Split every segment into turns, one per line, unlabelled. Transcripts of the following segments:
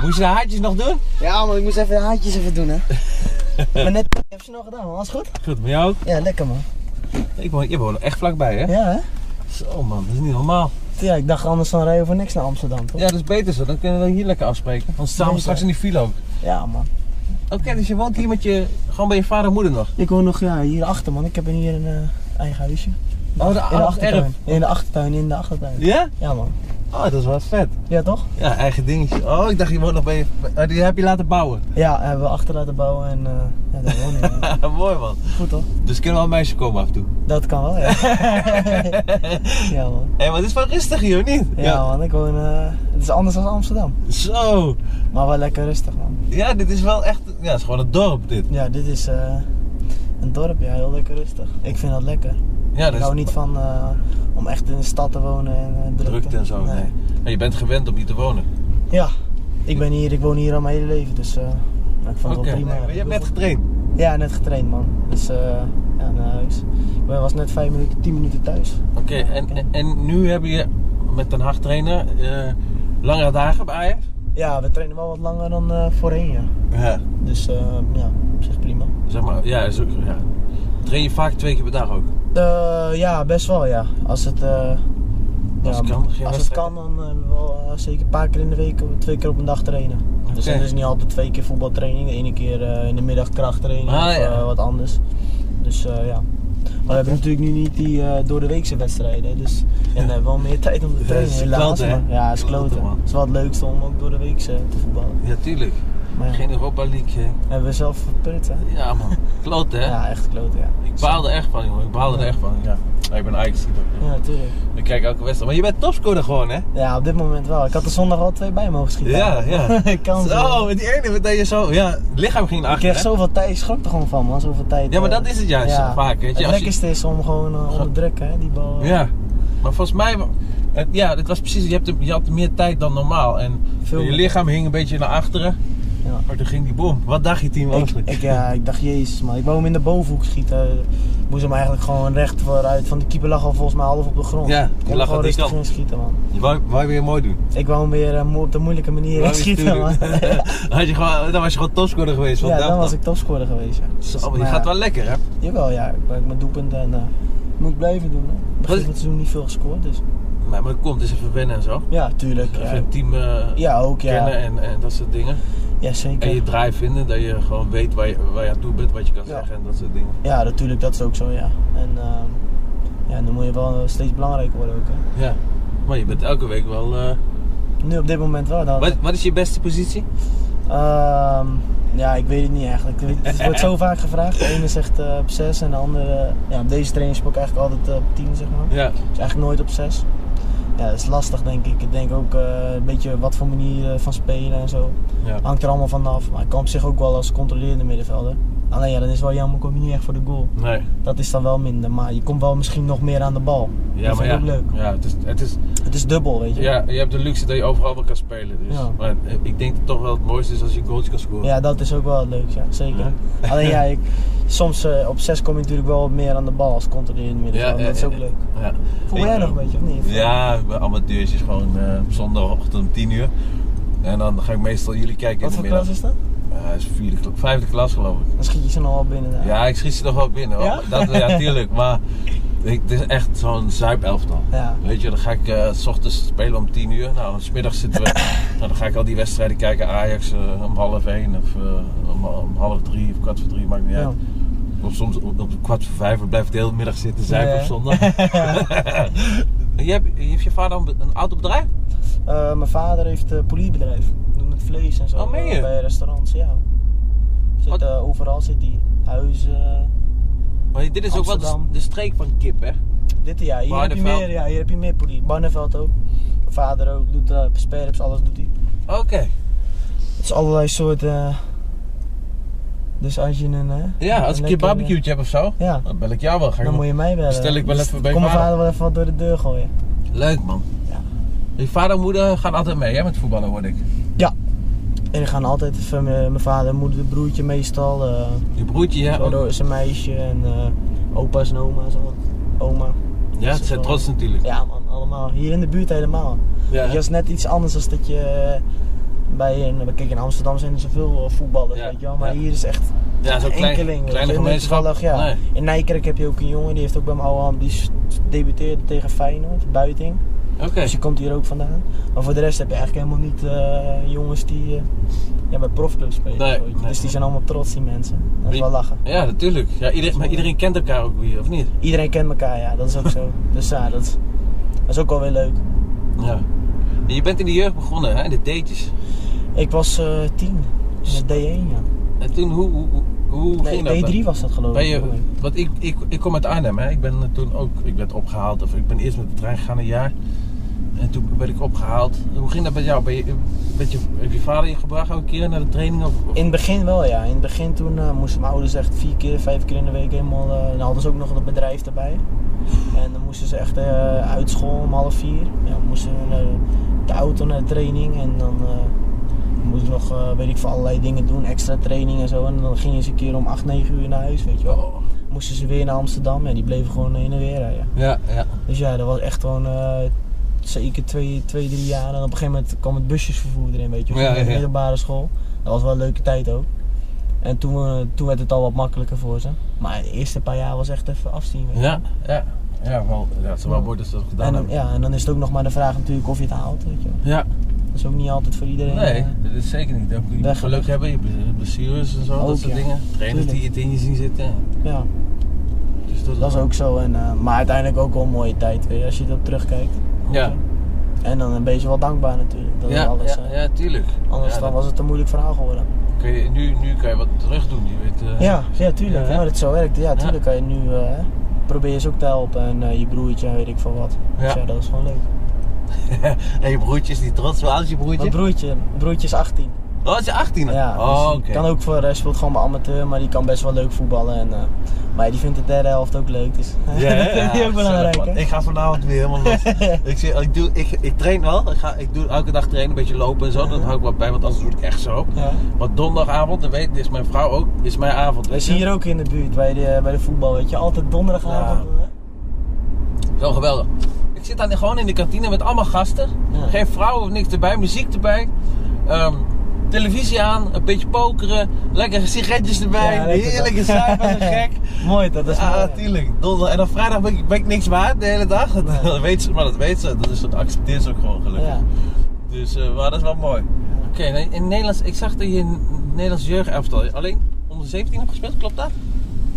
Moest je de haartjes nog doen?
Ja, man, ik moest even de haartjes even doen, hè. maar net ik heb ze nog gedaan, man. Alles goed?
Goed, met jou?
Ja, lekker, man.
Ik woon, je woont er echt vlakbij, hè?
Ja, hè?
Zo man, dat is niet normaal.
Ja, ik dacht anders dan rijden voor niks naar Amsterdam, toch?
Ja, dat is beter zo. Dan kunnen we hier lekker afspreken. Want staan we
Beter.
straks in die file ook.
Ja, man.
Oké, dus je woont hier met je, gewoon bij je vader en moeder nog?
Ik woon nog ja, hier achter, man. Ik heb hier een eh, eigen huisje.
Oh, de
In de achtertuin.
erf.
In de achtertuin, in de achtertuin.
Ja?
Ja, man.
Oh, dat is wel vet.
Ja, toch?
Ja, eigen dingetje. Oh, ik dacht je woont nog bij je... oh, die heb je laten bouwen.
Ja, hebben we achter laten bouwen en eh ja, daar woon ik. man.
Mooi man.
Goed, toch?
Dus kunnen wel meisjes komen af en toe.
Dat kan wel, ja. ja, man.
Hé, maar het is wel rustig hier, of niet?
Ja, man. Ik woon... eh, het is anders dan Amsterdam.
Zo.
Maar wel lekker rustig, man.
Ja, dit is wel echt... Ja, het is gewoon een dorp dit.
Ja, dit is eh, een dorp, ja. Heel lekker rustig. Ik vind dat lekker.
Ja, dus dat
Ik
is
hou niet van eh, om echt in de stad te wonen en eh, drukte.
drukte en zo. Nee. Maar je bent gewend om hier te wonen.
Ja, ik ben hier, ik woon hier al mijn hele leven, dus eh, ik vond het wel prima.
nee, maar je hebt net getraind.
Ja, net getraind man. Dus eh ja, naar huis. Ik ben- was net 5 minuten, 10 minuten thuis.
Oké, en, en, en nu heb je met een hard trainen eh, langere dagen bij Ajax?
Ja, we trainen wel wat langer dan eh, voorheen, ja.
Ja.
Dus eh, ja, op zich prima.
Zeg maar, ja, is ook, ja. Train je vaak twee keer per dag ook?
Eh, ja, best wel ja. Als het, eh,
Als
ja,
het kan, geen
als het
wedstrijd.
kan dan eh, wel eh, zeker een paar keer in de week, twee keer op een dag trainen. Dus
Oké.
dat is niet altijd twee keer voetbaltraining, de ene keer eh, in de middag krachttraining
Ah,
of
ja.
eh, wat anders. Dus eh, ja. Maar we hebben natuurlijk nu niet die eh, door de weekse wedstrijden, dus en we hebben wel meer tijd om te trainen.
is
helaas,
kloten, hè?
maar- ja, het is
Kloten,
kloten.
man.
Het is wel het leukste om ook door de weekse te voetballen.
Ja, tuurlijk.
Maar ja,
Geen Europa League, hè.
hebben we zelf verput hè?
Ja, man. Klote, hè.
Ja, echt kloten ja.
Ik baalde er echt van, jongen. Ik baalde er echt van. Ja. ik ben Ajax.
Ja, natuurlijk.
Ik kijk elke wedstrijd. Maar je bent topscorer gewoon, hè?
Ja, op dit moment wel. Ik had er zondag al twee bij mogen schieten.
Ja, ja.
ik kan ze.
Zo, met die ene, met dat je zo... Ja, het lichaam ging naar
Ik kreeg
achter, hè?
zoveel tijd, ik schrok er gewoon van man, zoveel tijd.
Ja, maar
eh,
dat is het juist zo vaak, weet je, als
Het
je-
lekkerste is om gewoon eh, onder druk, hè, die bal. eh,
Ja. Maar volgens mij... Het, ja, het was precies... Je, hebt, je had meer tijd dan normaal. En
Veel
je
meer.
lichaam hing een beetje naar achteren.
Ja.
Maar toen ging die bom. Wat dacht je team
Ik,
eigenlijk?
ik, eh, ja, ik dacht, jezus man, ik wou hem in de bovenhoek schieten. Ik moest hem eigenlijk gewoon recht vooruit, want de keeper lag al volgens mij half op de grond.
Ja,
ik
die
kon hem
lag
gewoon
aan die
rustig
kant.
in schieten man.
Je wou, wou je weer mooi doen.
Ik wou hem weer eh, mo- op de moeilijke manier
Wou
in
je stoer
schieten man.
doen. Had je gewoon, dan was je gewoon topscorer geweest. Want
ja, dan
dacht
was ik topscorer geweest. Ja.
Zo,
Dus,
maar die
maar
gaat
ja,
wel lekker, hè?
Jawel, ja, ik maak mijn doelpunt en eh, moet ik blijven doen hè. Begin
Wat
van
is-
het seizoen niet veel gescoord, dus
Maar, maar dat komt, dus even wennen en zo.
ja, tuurlijk.
Even
Ja,
het team eh,
ja ook ja.
kennen en, en dat soort dingen.
Ja, zeker.
En je draai vinden, dat je gewoon weet waar je, waar je aan toe bent, wat je kan
Ja.
zeggen en dat soort dingen.
Ja, natuurlijk, dat is ook zo, ja. En ehm, ja, dan moet je wel eh, steeds belangrijker worden ook, hè.
Ja. Maar je bent elke week wel... eh,
Nu op dit moment wel. Dan,
Wat, wat is je beste positie?
Ehm, ja, ik weet het niet eigenlijk. Het- Het wordt zo vaak gevraagd. De ene zegt eh, op 6 en de andere... Ja, op deze training speel ik eigenlijk altijd eh, op 10, zeg maar.
Ja.
Dus eigenlijk nooit op 6. Ja, dat is lastig, denk ik. Ik denk ook eh, een beetje wat voor manier eh, van spelen en zo.
ja.
Hangt er allemaal vanaf. Maar ik kan op zich ook wel als controlerende middenvelder. Alleen ja, dan is het wel jammer, kom je niet echt voor de goal.
Nee.
Dat is dan wel minder. Maar je komt wel misschien nog meer aan de bal.
Ja,
dat
maar
vind
ja.
ik ook leuk.
Ja, het is, het is,
Het is dubbel, weet je.
ja, je hebt de luxe dat je overal wel kan spelen. Dus.
Ja.
Maar eh, ik denk dat het toch wel het mooiste is als je goals kan scoren.
Ja, dat is ook wel leuk, ja, zeker. Alleen ja, ik, soms eh, op 6 kom je natuurlijk wel wat meer aan de bal als controlerend middenveld.
Ja, eh,
dat is
ja,
ook
ja.
leuk.
Ja.
Voel jij nog een beetje, of niet?
eh, Ja, bij amateurs is gewoon eh, op zondagochtend om 10 uur. En dan ga ik meestal jullie kijken
Wat
in
voor
de
klas
middag.
is dat?
Ja, hij is vierde, kla- vijfde klas geloof ik.
Dan schiet je ze nog wel binnen. daar.
Ja, ik schiet ze nog wel binnen. hoor.
Ja?
Dat, ja, tuurlijk. Maar ik, het is echt zo'n zuipelftal.
Ja.
Weet je, dan ga ik eh, s ochtends spelen om 10 uur. Nou, dan 's middags zitten we. nou, dan ga ik al die wedstrijden kijken. Ajax eh, om half 1 of eh, om, om half 3 of kwart voor 3, maakt niet
Ja.
uit. Of soms op, op kwart voor 5 blijf ik de hele middag zitten zuipen
Ja.
op zondag. je hebt, heeft je vader een, een autobedrijf?
Eh, mijn vader heeft een politiebedrijf. We Doen met vlees en zo.
Oh, meen je?
eh, bij restaurants, ja. Zit,
Wat?
eh, overal zit hij. Huizen.
Maar dit is ook wel de,
Amsterdam.
de streek van kip, hè?
Dit ja, hier heb je
Barneveld.
meer, ja, hier heb je meer politie. Barneveld ook. Mijn vader ook doet eh sperps, alles doet hij.
Oké.
Het is allerlei soorten. eh, dus als je een. eh,
Ja, als ik
lekker,
een barbecue heb of zo,
eh, Ja,
dan bel ik jou wel. Ga ik
dan moet je mij bellen.
Stel ik wel
Dus
even bij
Kom mijn
vader.
vader wel even wat door de deur gooien.
Leuk man.
Ja.
Je vader en moeder gaan altijd mee hè, met voetballen, hoor ik.
En dan gaan altijd even mijn mijn vader, moeder, broertje meestal. eh
Je broertje, ja.
zo
want-
door zijn meisje en eh, opa's en oma's. al- Oma.
ja, het zijn trots natuurlijk.
Ja man, allemaal. Hier in de buurt helemaal.
Ja,
Dat is net iets anders dan dat je eh, Bij een, kijk, in Amsterdam zijn er zoveel eh, voetballers,
Ja,
weet je wel. Maar
ja.
hier is echt
Ja, zo'n klein,
enkeling. weet je
kleine
wel.
gemeenschap.
Toevallig, ja.
Nee.
In Nijkerk heb je ook een jongen, die heeft ook bij Mouwam, die s- debuteerde tegen Feyenoord, Buiting.
Oké.
Dus je komt hier ook vandaan. Maar voor de rest heb je eigenlijk helemaal niet eh, jongens die eh, ja, bij profclubs spelen.
Nee,
zo, weet je.
nee.
dus die zijn allemaal trots, die mensen. Dat is
Die-
wel lachen.
Ja, natuurlijk. Ja, ieder- maar iedereen kent elkaar ook hier, of niet?
Iedereen kent elkaar, ja, dat is ook zo. dus ja, dat, dat is ook wel weer leuk.
Ja. En je bent in de jeugd begonnen, hè? in de datejes.
Ik was eh, tien, in het D1, ja.
En toen, hoe, hoe, hoe- hoe ging dat?
Nee, D3 was dat geloof
Ben
ik.
je, want ik, ik, ik kom uit Arnhem, hè? ik ben eh, toen ook ik werd opgehaald. Of ik ben eerst met de trein gegaan een jaar. En toen werd ik opgehaald. Hoe ging dat bij jou? Ben je, werd je, heb je vader je gebracht ook een keer naar de training? Of, of-
In het begin wel, ja. In het begin toen eh, moesten mijn ouders echt vier keer, vijf keer in de week helemaal... eh, en hadden ze ook nog een bedrijf erbij. En dan moesten ze echt eh, uit school om half vier. Ja, dan moesten we naar de auto naar de training en dan... eh, moesten ze nog, eh, weet ik veel, allerlei dingen doen, extra training en zo. En dan gingen ze een keer om 8, 9 uur naar huis, weet je wel.
Oh.
Moesten ze weer naar Amsterdam en die bleven gewoon heen en weer rijden.
Ja, ja.
Dus ja, dat was echt gewoon eh, zeker twee, twee, drie jaar. En op een gegeven moment kwam het busjesvervoer erin, weet je. wel.
Ja,
Naar de
ja, ja.
middelbare school. Dat was wel een leuke tijd ook. En toen, eh, toen werd het al wat makkelijker voor ze. Maar de eerste paar jaar was echt even afzien. weet je
Ja, ja. Ja, wel, ja, het is wel mooi dat ze dat
wel. En
gedaan
dan,
hebben.
ja, en dan is het ook nog maar de vraag natuurlijk of je het haalt, weet je wel.
Ja,
Dat is ook niet altijd voor iedereen.
nee,
eh,
dat is zeker niet. Ook, je moet
Weg-
geluk hebben, je ble- blessures en zo,
Ook,
dat soort
ja.
dingen. Trainers die
Tuurlijk.
het in je zien zitten.
ja,
Dus dat,
dat is ook zo. En, eh, maar uiteindelijk ook wel een mooie tijd weer, als je erop terugkijkt.
Ja,
En dan een beetje wel dankbaar natuurlijk. Dat is
ja,
alles,
ja,
eh,
ja, tuurlijk.
anders
Ja,
dan
dat-
was het een moeilijk verhaal geworden.
Kun je, nu, nu kan je wat terug doen, je weet. eh,
Ja, ja, tuurlijk.
Ja,
Ja,
hè?
dat zo werkt. Ja, tuurlijk kan je nu eh, probeer je ze ook te helpen en eh, je broertje en weet ik veel wat. Dus
Ja.
ja, dat is gewoon leuk.
en je broertje is niet trots, hoe oud is je broertje?
Mijn broertje, broertje is 18.
Oh, is je 18?
Ja, dus
oh,
die
oké.
kan ook voor, hij speelt gewoon bij amateur, maar die kan best wel leuk voetballen. En, eh, maar ja, die vindt de derde helft ook leuk, dus dat vind ik ook belangrijk.
man.
hè?
Ik ga vanavond weer helemaal los. ik, zie, ik, doe, ik, ik train wel. Ik, ga, ik doe elke dag trainen, een beetje lopen en zo. Dat hou ik wel bij, want anders doe ik echt zo.
Ja.
Maar donderdagavond, dan weet is mijn vrouw ook, is mijn avond.
We
Weet je?
zien hier ook in de buurt bij de, bij de voetbal, weet je, altijd donderdagavond.
Ja. Zo geweldig. Ik zit dan gewoon in de kantine met allemaal gasten.
Ja.
Geen vrouwen of niks erbij, muziek erbij. Ehm, televisie aan, een beetje pokeren, lekkere sigaretjes erbij.
Ja, lekker
heerlijke
dat.
zuipen en gek.
Mooi, dat is mooi.
Ah, tuurlijk. Donder. En dan vrijdag ben ik, ben ik niks waard de hele dag. Dat,
Nee.
dat weet ze, maar dat weet ze. Dat, is, dat accepteert ze ook gewoon gelukkig.
Ja.
Dus eh, maar dat is wel mooi. Oké, en in Nederlands, ik zag dat je in Nederlands jeugdelftal alleen onder 17 hebt gespeeld, klopt dat?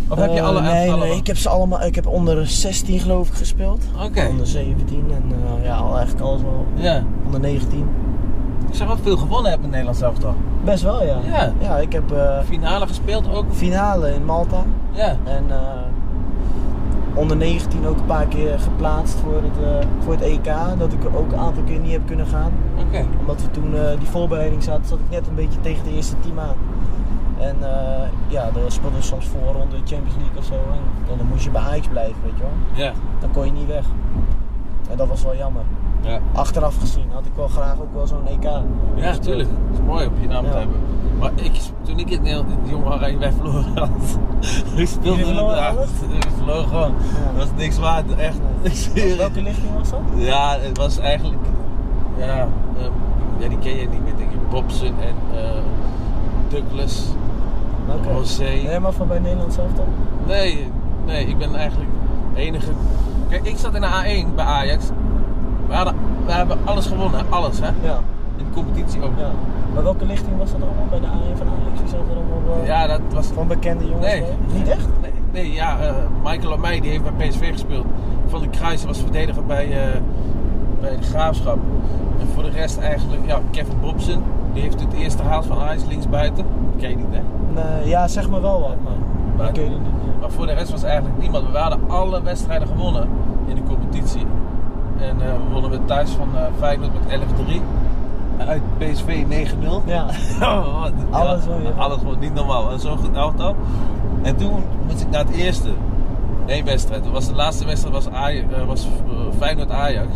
Of heb je
Eh,
alle
nee,
elftallen?
nee, ik heb ze allemaal, ik heb onder 16 geloof ik gespeeld.
Oké,
Onder 17 en eh, ja, al- eigenlijk alles wel.
ja.
Onder 19.
Ik zag wel veel gewonnen hebben in Nederlands elftal.
Best wel, ja.
Ja.
ik heb eh,
Finale gespeeld ook.
finale in Malta.
Ja.
En eh, onder 19 ook een paar keer geplaatst voor het, eh, voor het EK. Dat ik ook een aantal keer niet heb kunnen gaan.
Oké.
Omdat we toen eh, die voorbereiding zaten, zat ik net een beetje tegen de eerste team aan. En eh, ja, dan speelden we soms voorronde Champions League of zo. En, en dan moest je bij Ajax blijven, weet je wel.
Ja.
Dan kon je niet weg. En dat was wel jammer.
Ja.
Achteraf gezien had ik wel graag ook wel zo'n EK.
Ja,
gespeeld.
tuurlijk. Het is mooi om je naam te
Ja.
hebben. Maar ik, toen ik in Nederland- in de jonge Oranje wij verloren had. Ik speelde
Jullie verloren alles?
We verloren gewoon.
Ja.
Dat was niks waard, echt. Ik zweer het.
Welke lichting was dat?
Ja, het was eigenlijk. Ja, eh, ja die ken je niet meer, denk ik. Bobson en eh, Douglas.
Oké.
Rosé.
Nee, maar van bij Nederland zelf dan?
Nee, nee, ik ben eigenlijk de enige. Kijk, ik zat in de A1 bij Ajax. We, hadden, we hebben alles gewonnen, alles hè.
Ja,
In de competitie ook.
ja. Maar welke lichting was dat allemaal bij de A1 van Ajax? Wie zat er allemaal eh,
Ja, dat was.
van bekende jongens?
Nee.
bij? Niet echt?
Nee, nee ja, eh, Michael Amey die heeft bij PSV gespeeld. Van de Kruijs was verdediger bij, eh, bij de Graafschap. En voor de rest eigenlijk, ja, Kevin Bobson. Die heeft het eerste haalt van Ajax linksbuiten. Ken je niet hè.
Nee, ja, zeg maar wel wat, maar
Maar-
dat ken je niet.
Maar voor de rest was eigenlijk niemand. We hadden alle wedstrijden gewonnen in de competitie. En eh, we wonnen we thuis van eh Feyenoord met 11-3. Uit PSV 9-0.
Ja,
Oh, wat- ja,
Alles gewoon, ja.
Alles gewoon niet normaal. En zo'n goed elftal. En toen moest ik naar het eerste. Nee, wedstrijd. Dat was de laatste wedstrijd was, Aj- eh, was eh, Feyenoord-Ajax.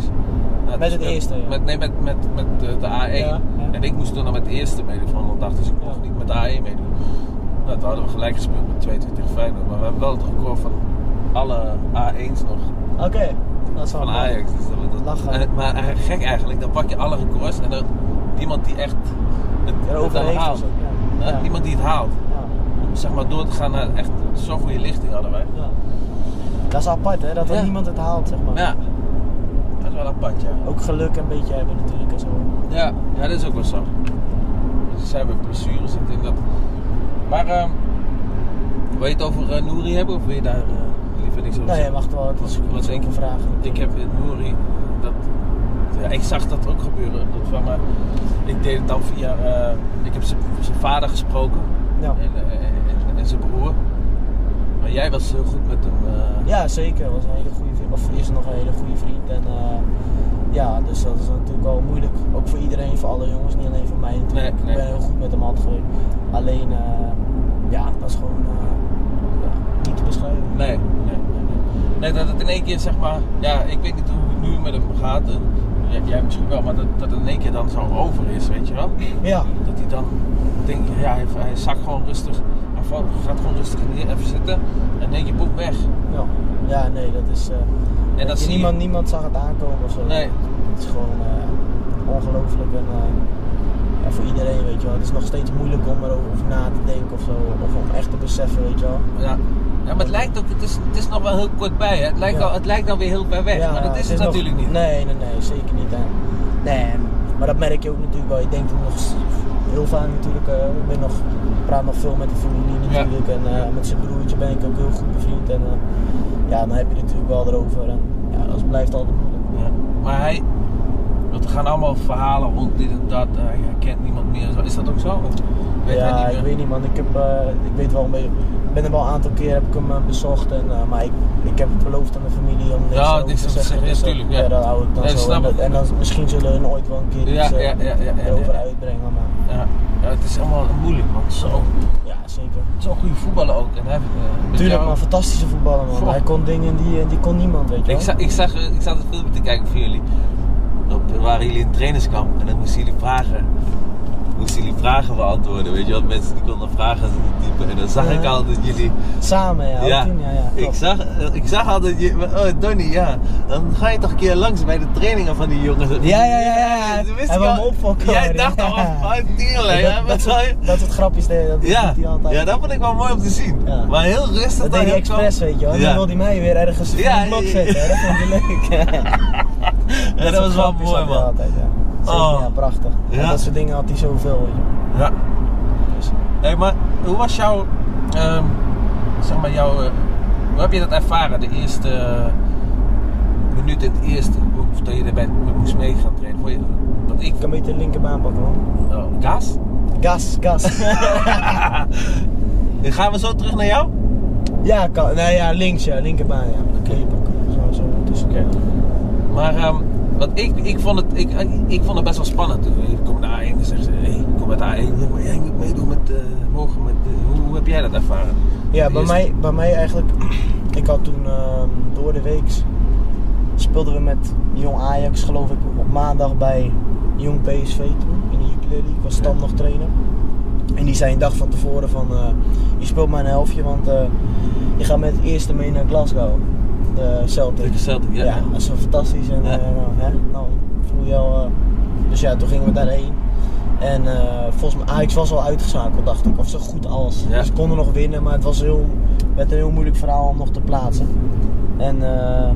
Nou,
Met
dus
het eerste, ja.
Met, nee, met, met, met eh, de A1.
Ja, ja.
En ik moest toen dan met het eerste meedoen van de dag. Dus ik mocht
Ja.
niet met de A1 meedoen. Nou, toen hadden we gelijk gespeeld met 22 Feyenoord. Maar we hebben wel het record van alle A1's nog.
oké. Dat is wel
Van
mooi.
Ajax. Dus dat, dat,
Lachen.
en- maar eh, gek eigenlijk, dan pak je alle records en dan iemand die echt het, het
Eroverheen
dan haalt.
gezet, ja.
Nou,
Ja.
Iemand die het haalt.
Ja.
Om zeg maar door te gaan naar echt zo'n goede lichting hadden wij.
Ja. Dat is apart, hè? Dat er
Ja.
niemand het haalt, zeg maar.
Ja, dat is wel apart, ja.
Ook geluk een beetje hebben natuurlijk en zo.
Ja, ja dat is ook wel zo. Dus zij hebben blessures en dit en dat. Maar ehm, wil je het over eh, Nouri hebben of wil je daar eh, liever niks over
Nou, jij
zeggen?
mag er wel wat,
Wat- wat
wat
denk je?
over vragen.
Ik heb met Nouri dat. Ja, ik zag dat ook gebeuren. Dat van, maar ik deed het dan via. eh, ik heb zijn- zijn vader gesproken
Ja.
en, eh, en, en zijn broer. Maar jij was heel goed met hem. eh,
ja, zeker. Was een hele goede vriend. Of is nog een hele goede vriend. En eh, ja, dus dat is natuurlijk wel moeilijk. Ook voor iedereen, voor alle jongens, niet alleen voor mij. natuurlijk.
Nee, nee.
Ik ben heel goed met hem altijd geweest. Alleen, eh, ja, dat is gewoon eh, ja, niet te beschrijven.
Nee, nee, nee, nee. Nee, dat het in één keer zeg maar, ja, ik weet niet hoe het nu met hem gaat. En, ja, jij misschien wel, maar dat, dat het in één keer dan zo over is, weet je wel.
Ja,
Dat hij dan denkt, ja, hij, hij zakt gewoon rustig, hij valt- gaat gewoon rustig neer, even zitten en in één keer boek weg.
ja. ja, nee, dat is. eh,
En dat
weet je,
zie je-
niemand, niemand zag het aankomen of zo.
Nee,
Het is gewoon eh, ongelooflijk. En eh, ja, voor iedereen, weet je wel. Het is nog steeds moeilijk om erover over na te denken of zo. Of om echt te beseffen, weet je wel.
ja. Ja, maar het lijkt ook, het is, het is nog wel heel kort bij, hè. Het lijkt,
Ja.
al, het lijkt dan weer heel ver weg,
Ja,
maar dat is het,
nog-
natuurlijk niet.
Nee, nee, nee, zeker niet. En, nee, en- maar dat merk je ook natuurlijk wel. Je denkt er nog s- heel vaak natuurlijk. eh, ik ben nog, ik praat nog veel met de familie
Ja.
natuurlijk. En eh, met zijn broertje ben ik ook heel goed bevriend. En eh, ja, dan heb je het natuurlijk wel erover. En ja, dat blijft altijd moeilijk.
Ja. Maar hij, want er gaan allemaal verhalen rond dit en dat, eh, hij kent niemand meer en zo. Is dat ook zo? Of weet hij
ja,
niet meer?
ik weet niet man. Ik, heb, eh, ik weet wel een beetje. Ik ben er wel een aantal keer heb ik hem eh, bezocht. En, eh, maar ik, ik heb beloofd aan de familie om niks
Ja,
erover
niks
te
te
zeggen.
zeggen,
dus
ja,
dat-
tuurlijk, ja.
dat hou ik dan
Nee,
zo.
snap
en, dat-
ik.
en dan misschien zullen hun ooit wel een keer
Ja,
iets eh,
ja, ja, ja, ja,
erover
ja.
uitbrengen. Maar
Ja, ja, het is allemaal moeilijk, man. Zo,
ja, zeker.
zo'n goede voetballer ook. En hij, eh, met
Tuurlijk,
jou-
maar fantastische voetballer man.
Goh.
Hij kon dingen die, eh, die kon niemand, weet je
Ik,
wel.
zag, ik, zag, eh, ik zat een filmpje te kijken voor jullie. Op, eh, waren jullie in het trainingskamp en dan moesten jullie vragen. Moesten jullie vragen beantwoorden, weet je wel? Mensen die konden vragen typen. En dan zag ik
Ja.
al dat jullie.
Samen, ja. ook toen, ja, ja
ik,
klopt.
zag, eh, ik zag al dat je. Oh, Donnie, ja. Dan ga je toch een keer langs bij de trainingen van die jongens.
Ja, ja, ja, ja, ja.
Dat wist
Hij
ik
wou
al.
hem opfokken,
Jij
hoor.
dacht al,
Ja.
oh, tierlijk,
Ja,
hè,
dat,
wat
dat,
zou je-
soort, dat soort grapjes deed, dat
Ja,
doet hij altijd.
ja, dat vond ik wel mooi om te zien.
Ja.
Maar heel rustig.
Dat
dan
deed hij
heel kalm.
expres, weet je wel. En
Ja.
Dan wilde hij mij weer ergens in
Ja,
een blok
ja, ja.
zetten. hè. Dat vond hij leuk.
Ja, dat, was wel mooi, man.
Altijd, ja. Zeker,
Oh.
ja, prachtig.
Ja.
En dat soort dingen had hij zoveel, weet je wel.
Ja.
Dus,
Hey, maar hoe was jouw, ehm, zeg maar jouw, eh, hoe heb je dat ervaren? De eerste eh, minuut in het eerste, hoe- dat je erbij moest mee gaan trainen. Vond je, want ik,
ik kan beter de linkerbaan pakken, man.
oh, Gaas?
Gas, gas.
Dan gaan we zo terug naar jou?
ja, kan, nou ja, links, ja. Linkerbaan, ja. Oké, pakken. Zo, zo. Dus,
Maar ehm, want ik, ik, vond het, ik, ik vond het best wel spannend. Toen ik kom naar A1 en zeggen ze, hey, ik kom met A1, ja, maar jij moet meedoen met eh mogen. Met, eh, hoe, hoe heb jij dat ervaren?
Ja,
Het
bij
eerste.
mij, bij mij eigenlijk. Ik had toen ehm, door de week speelden we met Jong Ajax, geloof ik, op maandag bij Jong PSV toen in de Jupiler League. Was Stan
Ja.
nog trainer. En die zei een dag van tevoren van, eh, je speelt maar een helftje, want eh, je gaat met het eerste mee naar Glasgow, de Celtic.
Tegen Celtic, ja.
dat is wel fantastisch. En
Ja.
eh, nou, hè, nou voel je al. eh, dus ja, toen gingen we daarheen. En eh, volgens mij, Ajax was al uitgeschakeld, dacht ik. Of zo goed als.
Ja.
Dus ze konden nog winnen, maar het was heel, werd een heel moeilijk verhaal om nog te plaatsen. En, eh,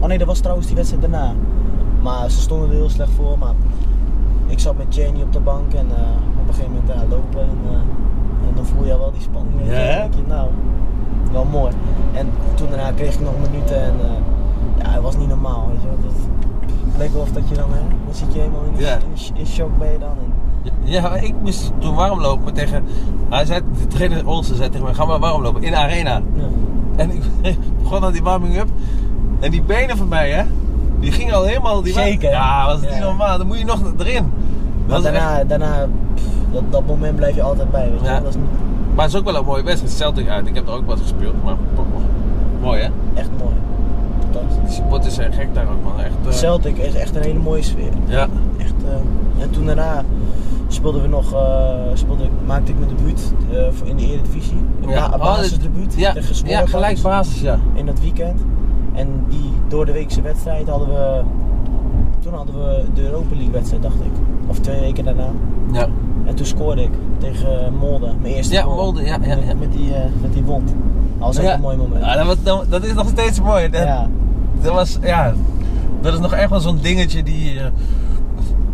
oh nee, dat was trouwens die wedstrijd daarna. Maar ze stonden er heel slecht voor. Maar ik zat met Jenny op de bank en eh, op een gegeven moment daar lopen. En, eh, en dan voel je al wel die spanning. weet je.
Ja, hè?
Dan denk je, nou, wel mooi. En toen daarna kreeg ik nog minuten en eh, ja, het was niet normaal. Weet je wel. Dat, het leek wel of dat je dan, hè, dan zit je helemaal in,
Ja.
in, in shock ben je dan. En,
Ja, maar ik moest toen warm lopen tegen. Hij zei, de trainer onze zei tegen mij: ga maar warm lopen in de arena.
ja.
En ik begon aan die warming-up. En die benen van mij, hè? Die gingen al helemaal. Die wa-
Zeker.
Ja, was niet
Ja.
normaal. Dan moet je nog erin.
Maar
Dat is echt-
daarna, daarna pff, dat, dat moment blijf je altijd bij. Weet je?
Ja.
wel. Dat is niet
maar het is ook wel een mooie wedstrijd. Celtic uit. Ik heb er ook wat gespeeld. Maar mooi, hè?
echt mooi. Fantastisch.
Die supporters zijn gek daar ook, man. Echt. eh,
Celtic is echt een hele mooie sfeer.
Ja.
Echt, eh, en toen daarna speelden we nog, eh, speelde ik, maakte ik mijn debuut eh, voor in de Eredivisie. Een
ja.
ba-
Oh,
basisdebuut
Ja,
tegen Smoor
ja, gelijk basis, ja.
in dat weekend. En die door de weekse wedstrijd hadden we Toen hadden we de Europa League wedstrijd, dacht ik. Of twee weken daarna.
Ja.
En toen scoorde ik tegen eh, Molde. Mijn eerste
Ja,
goal.
Molde, ja, ja,
Met-
ja.
Met, die, eh, met die wond. Dat was echt
Ja.
een mooi moment.
Ah, dat, was- dat, dat is nog steeds mooi. Dat,
Ja.
dat was, ja, dat is nog echt wel zo'n dingetje die, eh,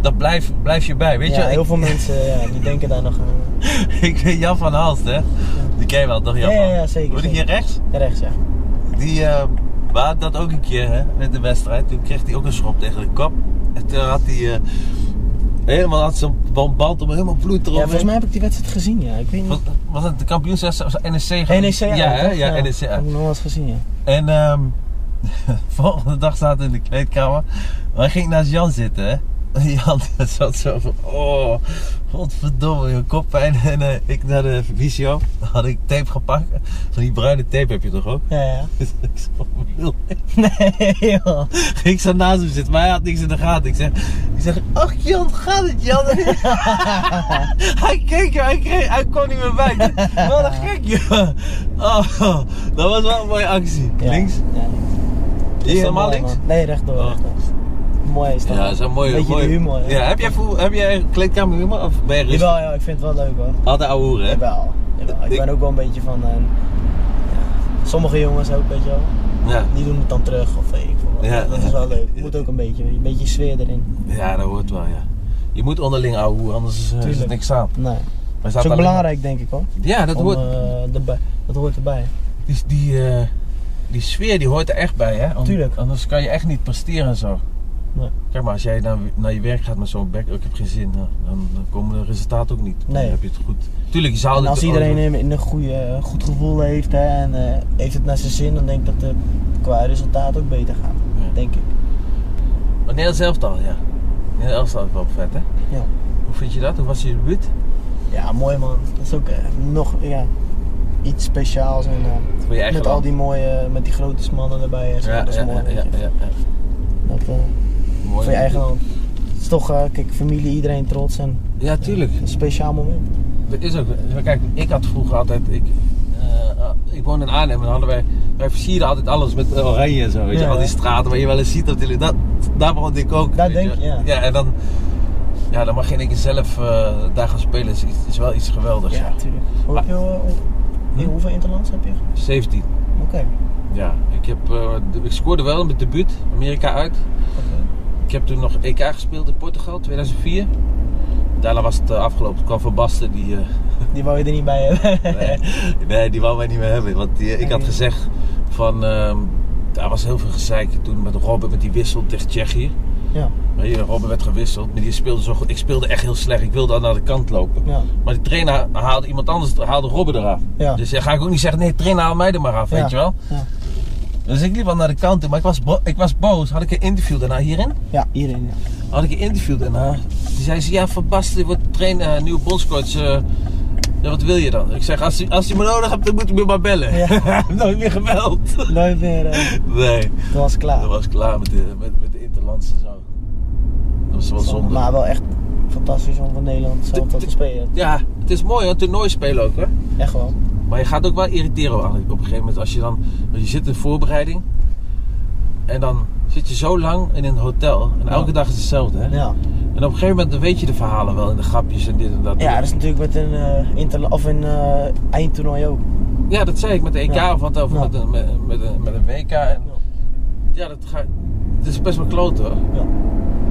dat blijf, blijf je bij, weet
Ja,
je.
heel
Ik-
veel mensen ja, die denken daar nog eh, aan.
Ik weet Jan van Halst, hè? Die ken je wel, toch Jan?
Ja,
van
ja, ja,
Halst?
zeker,
Hoorde ik hier
zeker.
rechts?
Rechts, ja.
Die eh baat dat ook een keer, hè? Met de wedstrijd. Toen kreeg hij ook een schop tegen de kop. En toen had hij... eh, helemaal had zijn band om helemaal bloed erop.
ja. Volgens mij heb ik die wedstrijd gezien, ja. Ik weet niet.
Was, was het de kampioenswedstrijd? Was het NEC?
NEC uit,
Ja, hè?
toch?
ja, E NEC
Heb
uit.
ik nog wel eens gezien, ja.
En ehm volgende dag zaten we in de kleedkamer. Maar hij ging naast Jan zitten, hè? En Jan zat zo van, oh, godverdomme, je koppijn. En eh, ik naar de visio, had ik tape gepakt. Van die bruine tape heb je toch ook?
Ja, ja.
Dus ik zo, "Lul."
Nee, joh.
ik zat naast hem zitten, maar hij had niks in de gaten. Ik zeg, ik zeg ach Jan, gaat het Jan? hij keek, hij, kreeg, hij kon niet meer bij. Wat een gek, joh. Oh, dat was wel een mooie actie.
Ja.
Links?
Ja, links.
Is
Is
het
dat
helemaal
mooi,
links?
man? Nee, rechtdoor.
Oh.
rechtdoor. Mooi is dat.
Ja, dat is een mooie,
Beetje
mooie...
de humor. hè?
Ja, heb jij, voel, heb jij kleedkamer humor of ben je rustig?
Jawel, ja, ik vind het wel leuk hoor.
Altijd ouwe hoeren, hè?
Jawel. jawel. Ik
Ik-
ben ook wel een beetje van. eh, ja, Sommige jongens ook, weet je wel.
Ja.
Die doen het dan terug of weet ik veel wat.
Ja.
Dat is wel leuk. Moet ook een beetje, een beetje sfeer erin.
ja, dat hoort wel, ja. Je moet onderling ouwe hoeren, anders is, eh, is het
Tuurlijk.
niks aan.
Nee.
Maar
Dat is ook belangrijk, denk ik hoor.
Ja, dat
Om,
hoort,
eh, erbij- dat hoort erbij.
die, die, eh, die sfeer die hoort er echt bij, hè? Om-
Tuurlijk.
Anders kan je echt niet presteren en zo.
Nee.
Kijk maar, als jij naar, naar je werk gaat met zo'n bek, ik heb geen zin, nou, dan, dan komen de resultaten ook niet.
Nee.
Dan heb je het goed. Tuurlijk, je zou
En
altijd-
als iedereen een, een goede, een goed gevoel heeft hè, en eh, heeft het naar zijn zin, dan denk ik dat het qua resultaat ook beter gaat.
Ja.
Denk ik.
Maar Nederlands elftal, ja. Nederlands elftal is wel vet, hè?
Ja.
Hoe vind je dat? Hoe was je debuut?
Ja, mooi man. Dat is ook eh, nog ja, iets speciaals. En, eh,
Voor je eigen
met al
land?
die mooie, eh, met die grote mannen erbij. En zo.
Ja,
dat is
ja,
mooi.
ja,
weet
ja,
je.
ja, ja.
Dat, eh,
Mooi.
voor je eigen land. Het is toch, eh, kijk, familie, iedereen trots en
Ja, tuurlijk.
een speciaal moment.
Dat is ook. Kijk, ik had vroeger altijd. Ik, eh, ik woonde in Arnhem en dan hadden wij. Wij versierden altijd alles met oranje en zo. Weet je,
Ja.
al die straten waar je wel eens ziet op tele- Dat, daar begon ik ook.
Daar
weet
denk je, ja.
en dan. Ja, dan mag je in één keer zelf eh, daar gaan spelen. Is, iets- is wel iets geweldigs.
Ja, natuurlijk. Hoe, eh,
Maar-
hoe- hoe-
Hm?
hoeveel interlands heb je?
17.
Oké.
Ja, ik, heb, eh, de- ik scoorde wel met debuut. Amerika uit.
oké.
Ik heb toen nog EK gespeeld in Portugal, 2004. Daarna was het eh, afgelopen. Toen kwam Van Basten, die, eh,
Die wou je er niet bij hebben.
Nee, nee, die wou mij niet meer hebben. Want die, ik had
Nee.
gezegd van... ehm, daar was heel veel gezeik toen met Robben, met die wissel tegen Tsjechië.
ja,
Weet je, Robben werd gewisseld, maar die speelde zo goed. Ik speelde echt heel slecht. Ik wilde al naar de kant lopen.
ja.
Maar de trainer haalde iemand anders, haalde Robben eraf.
Ja.
Dus dan ga ik ook niet zeggen, nee, trainer haal mij er maar af,
Ja.
weet je wel.
Ja.
Dus ik liep wel naar de kant toe, maar ik was, bo- ik was boos. Had ik een interview daarna hierin?
Ja, iedereen. Ja.
had ik een interview daarna. Toen zei ze, ja, Van Basten wordt trainer, eh, nieuwe bondscoach. eh, ja, wat wil je dan? Ik zeg, als je, als je me nodig hebt, dan moet je me maar bellen.
Ja.
Nooit meer gebeld.
Nooit meer. eh,
Nee,
toen was het klaar.
dat was ik klaar met de, met, met de Interlands en zo. Dat was wel zonde.
Maar wel echt fantastisch om van Nederland zelf dat te spelen.
Ja, het is mooi hoor, toernooi spelen ook hoor.
Echt wel.
Maar je gaat ook wel irriteren aan, op een gegeven moment. Als je dan, want je zit in voorbereiding. En dan zit je zo lang in een hotel. En
Ja.
elke dag is hetzelfde hè.
Ja.
En op een gegeven moment dan weet je de verhalen wel. En de grapjes en dit en dat.
Ja, dat is natuurlijk met een, eh interla- of een eh, eindtoernooi ook.
Ja, dat zei ik met de EK
Ja.
of wat over
Ja.
met, een, met, met een, met een WK. En, ja, dat ga, het is best wel kloten hoor.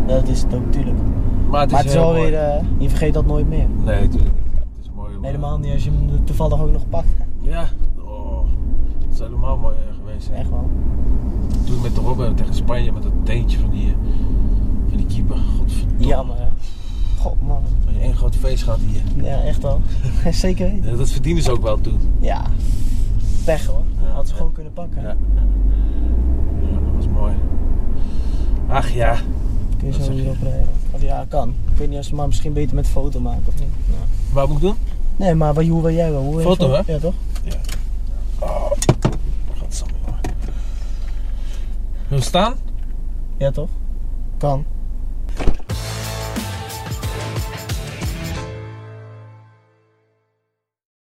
Dat is het ook, tuurlijk.
Maar het is,
maar het is wel
heel mooi.
weer, eh, je vergeet dat nooit meer.
Nee, natuurlijk niet. Het is mooi om...
Helemaal niet als je hem toevallig ook nog pakt.
Ja. Oh, het is helemaal mooi eh, geweest. Hè.
Echt wel.
Toen met de Robben tegen Spanje met dat teentje van die, eh, van die keeper. Godverdomme.
Jammer, hè. God, man.
Had je één groot feest gehad hier.
Ja, echt wel. Zeker weten.
Ja, Dat verdienen ze ook wel toen.
Ja. Pech hoor.
Ja.
Had ze gewoon kunnen pakken.
Ja. Ja, dat was mooi. Ach ja.
Kun je
dat
zo
zeg je.
hierop rijden. Of ja, kan. Ik weet niet of ze maar misschien beter met foto maken of niet. Ja.
Wat moet ik doen?
Nee, maar wat- hoe wil jij wel? Hoe wil je
Foto, hè?
Ja, toch?
Ja. Oh. Godsamme. Wil je staan?
Ja, toch? Kan.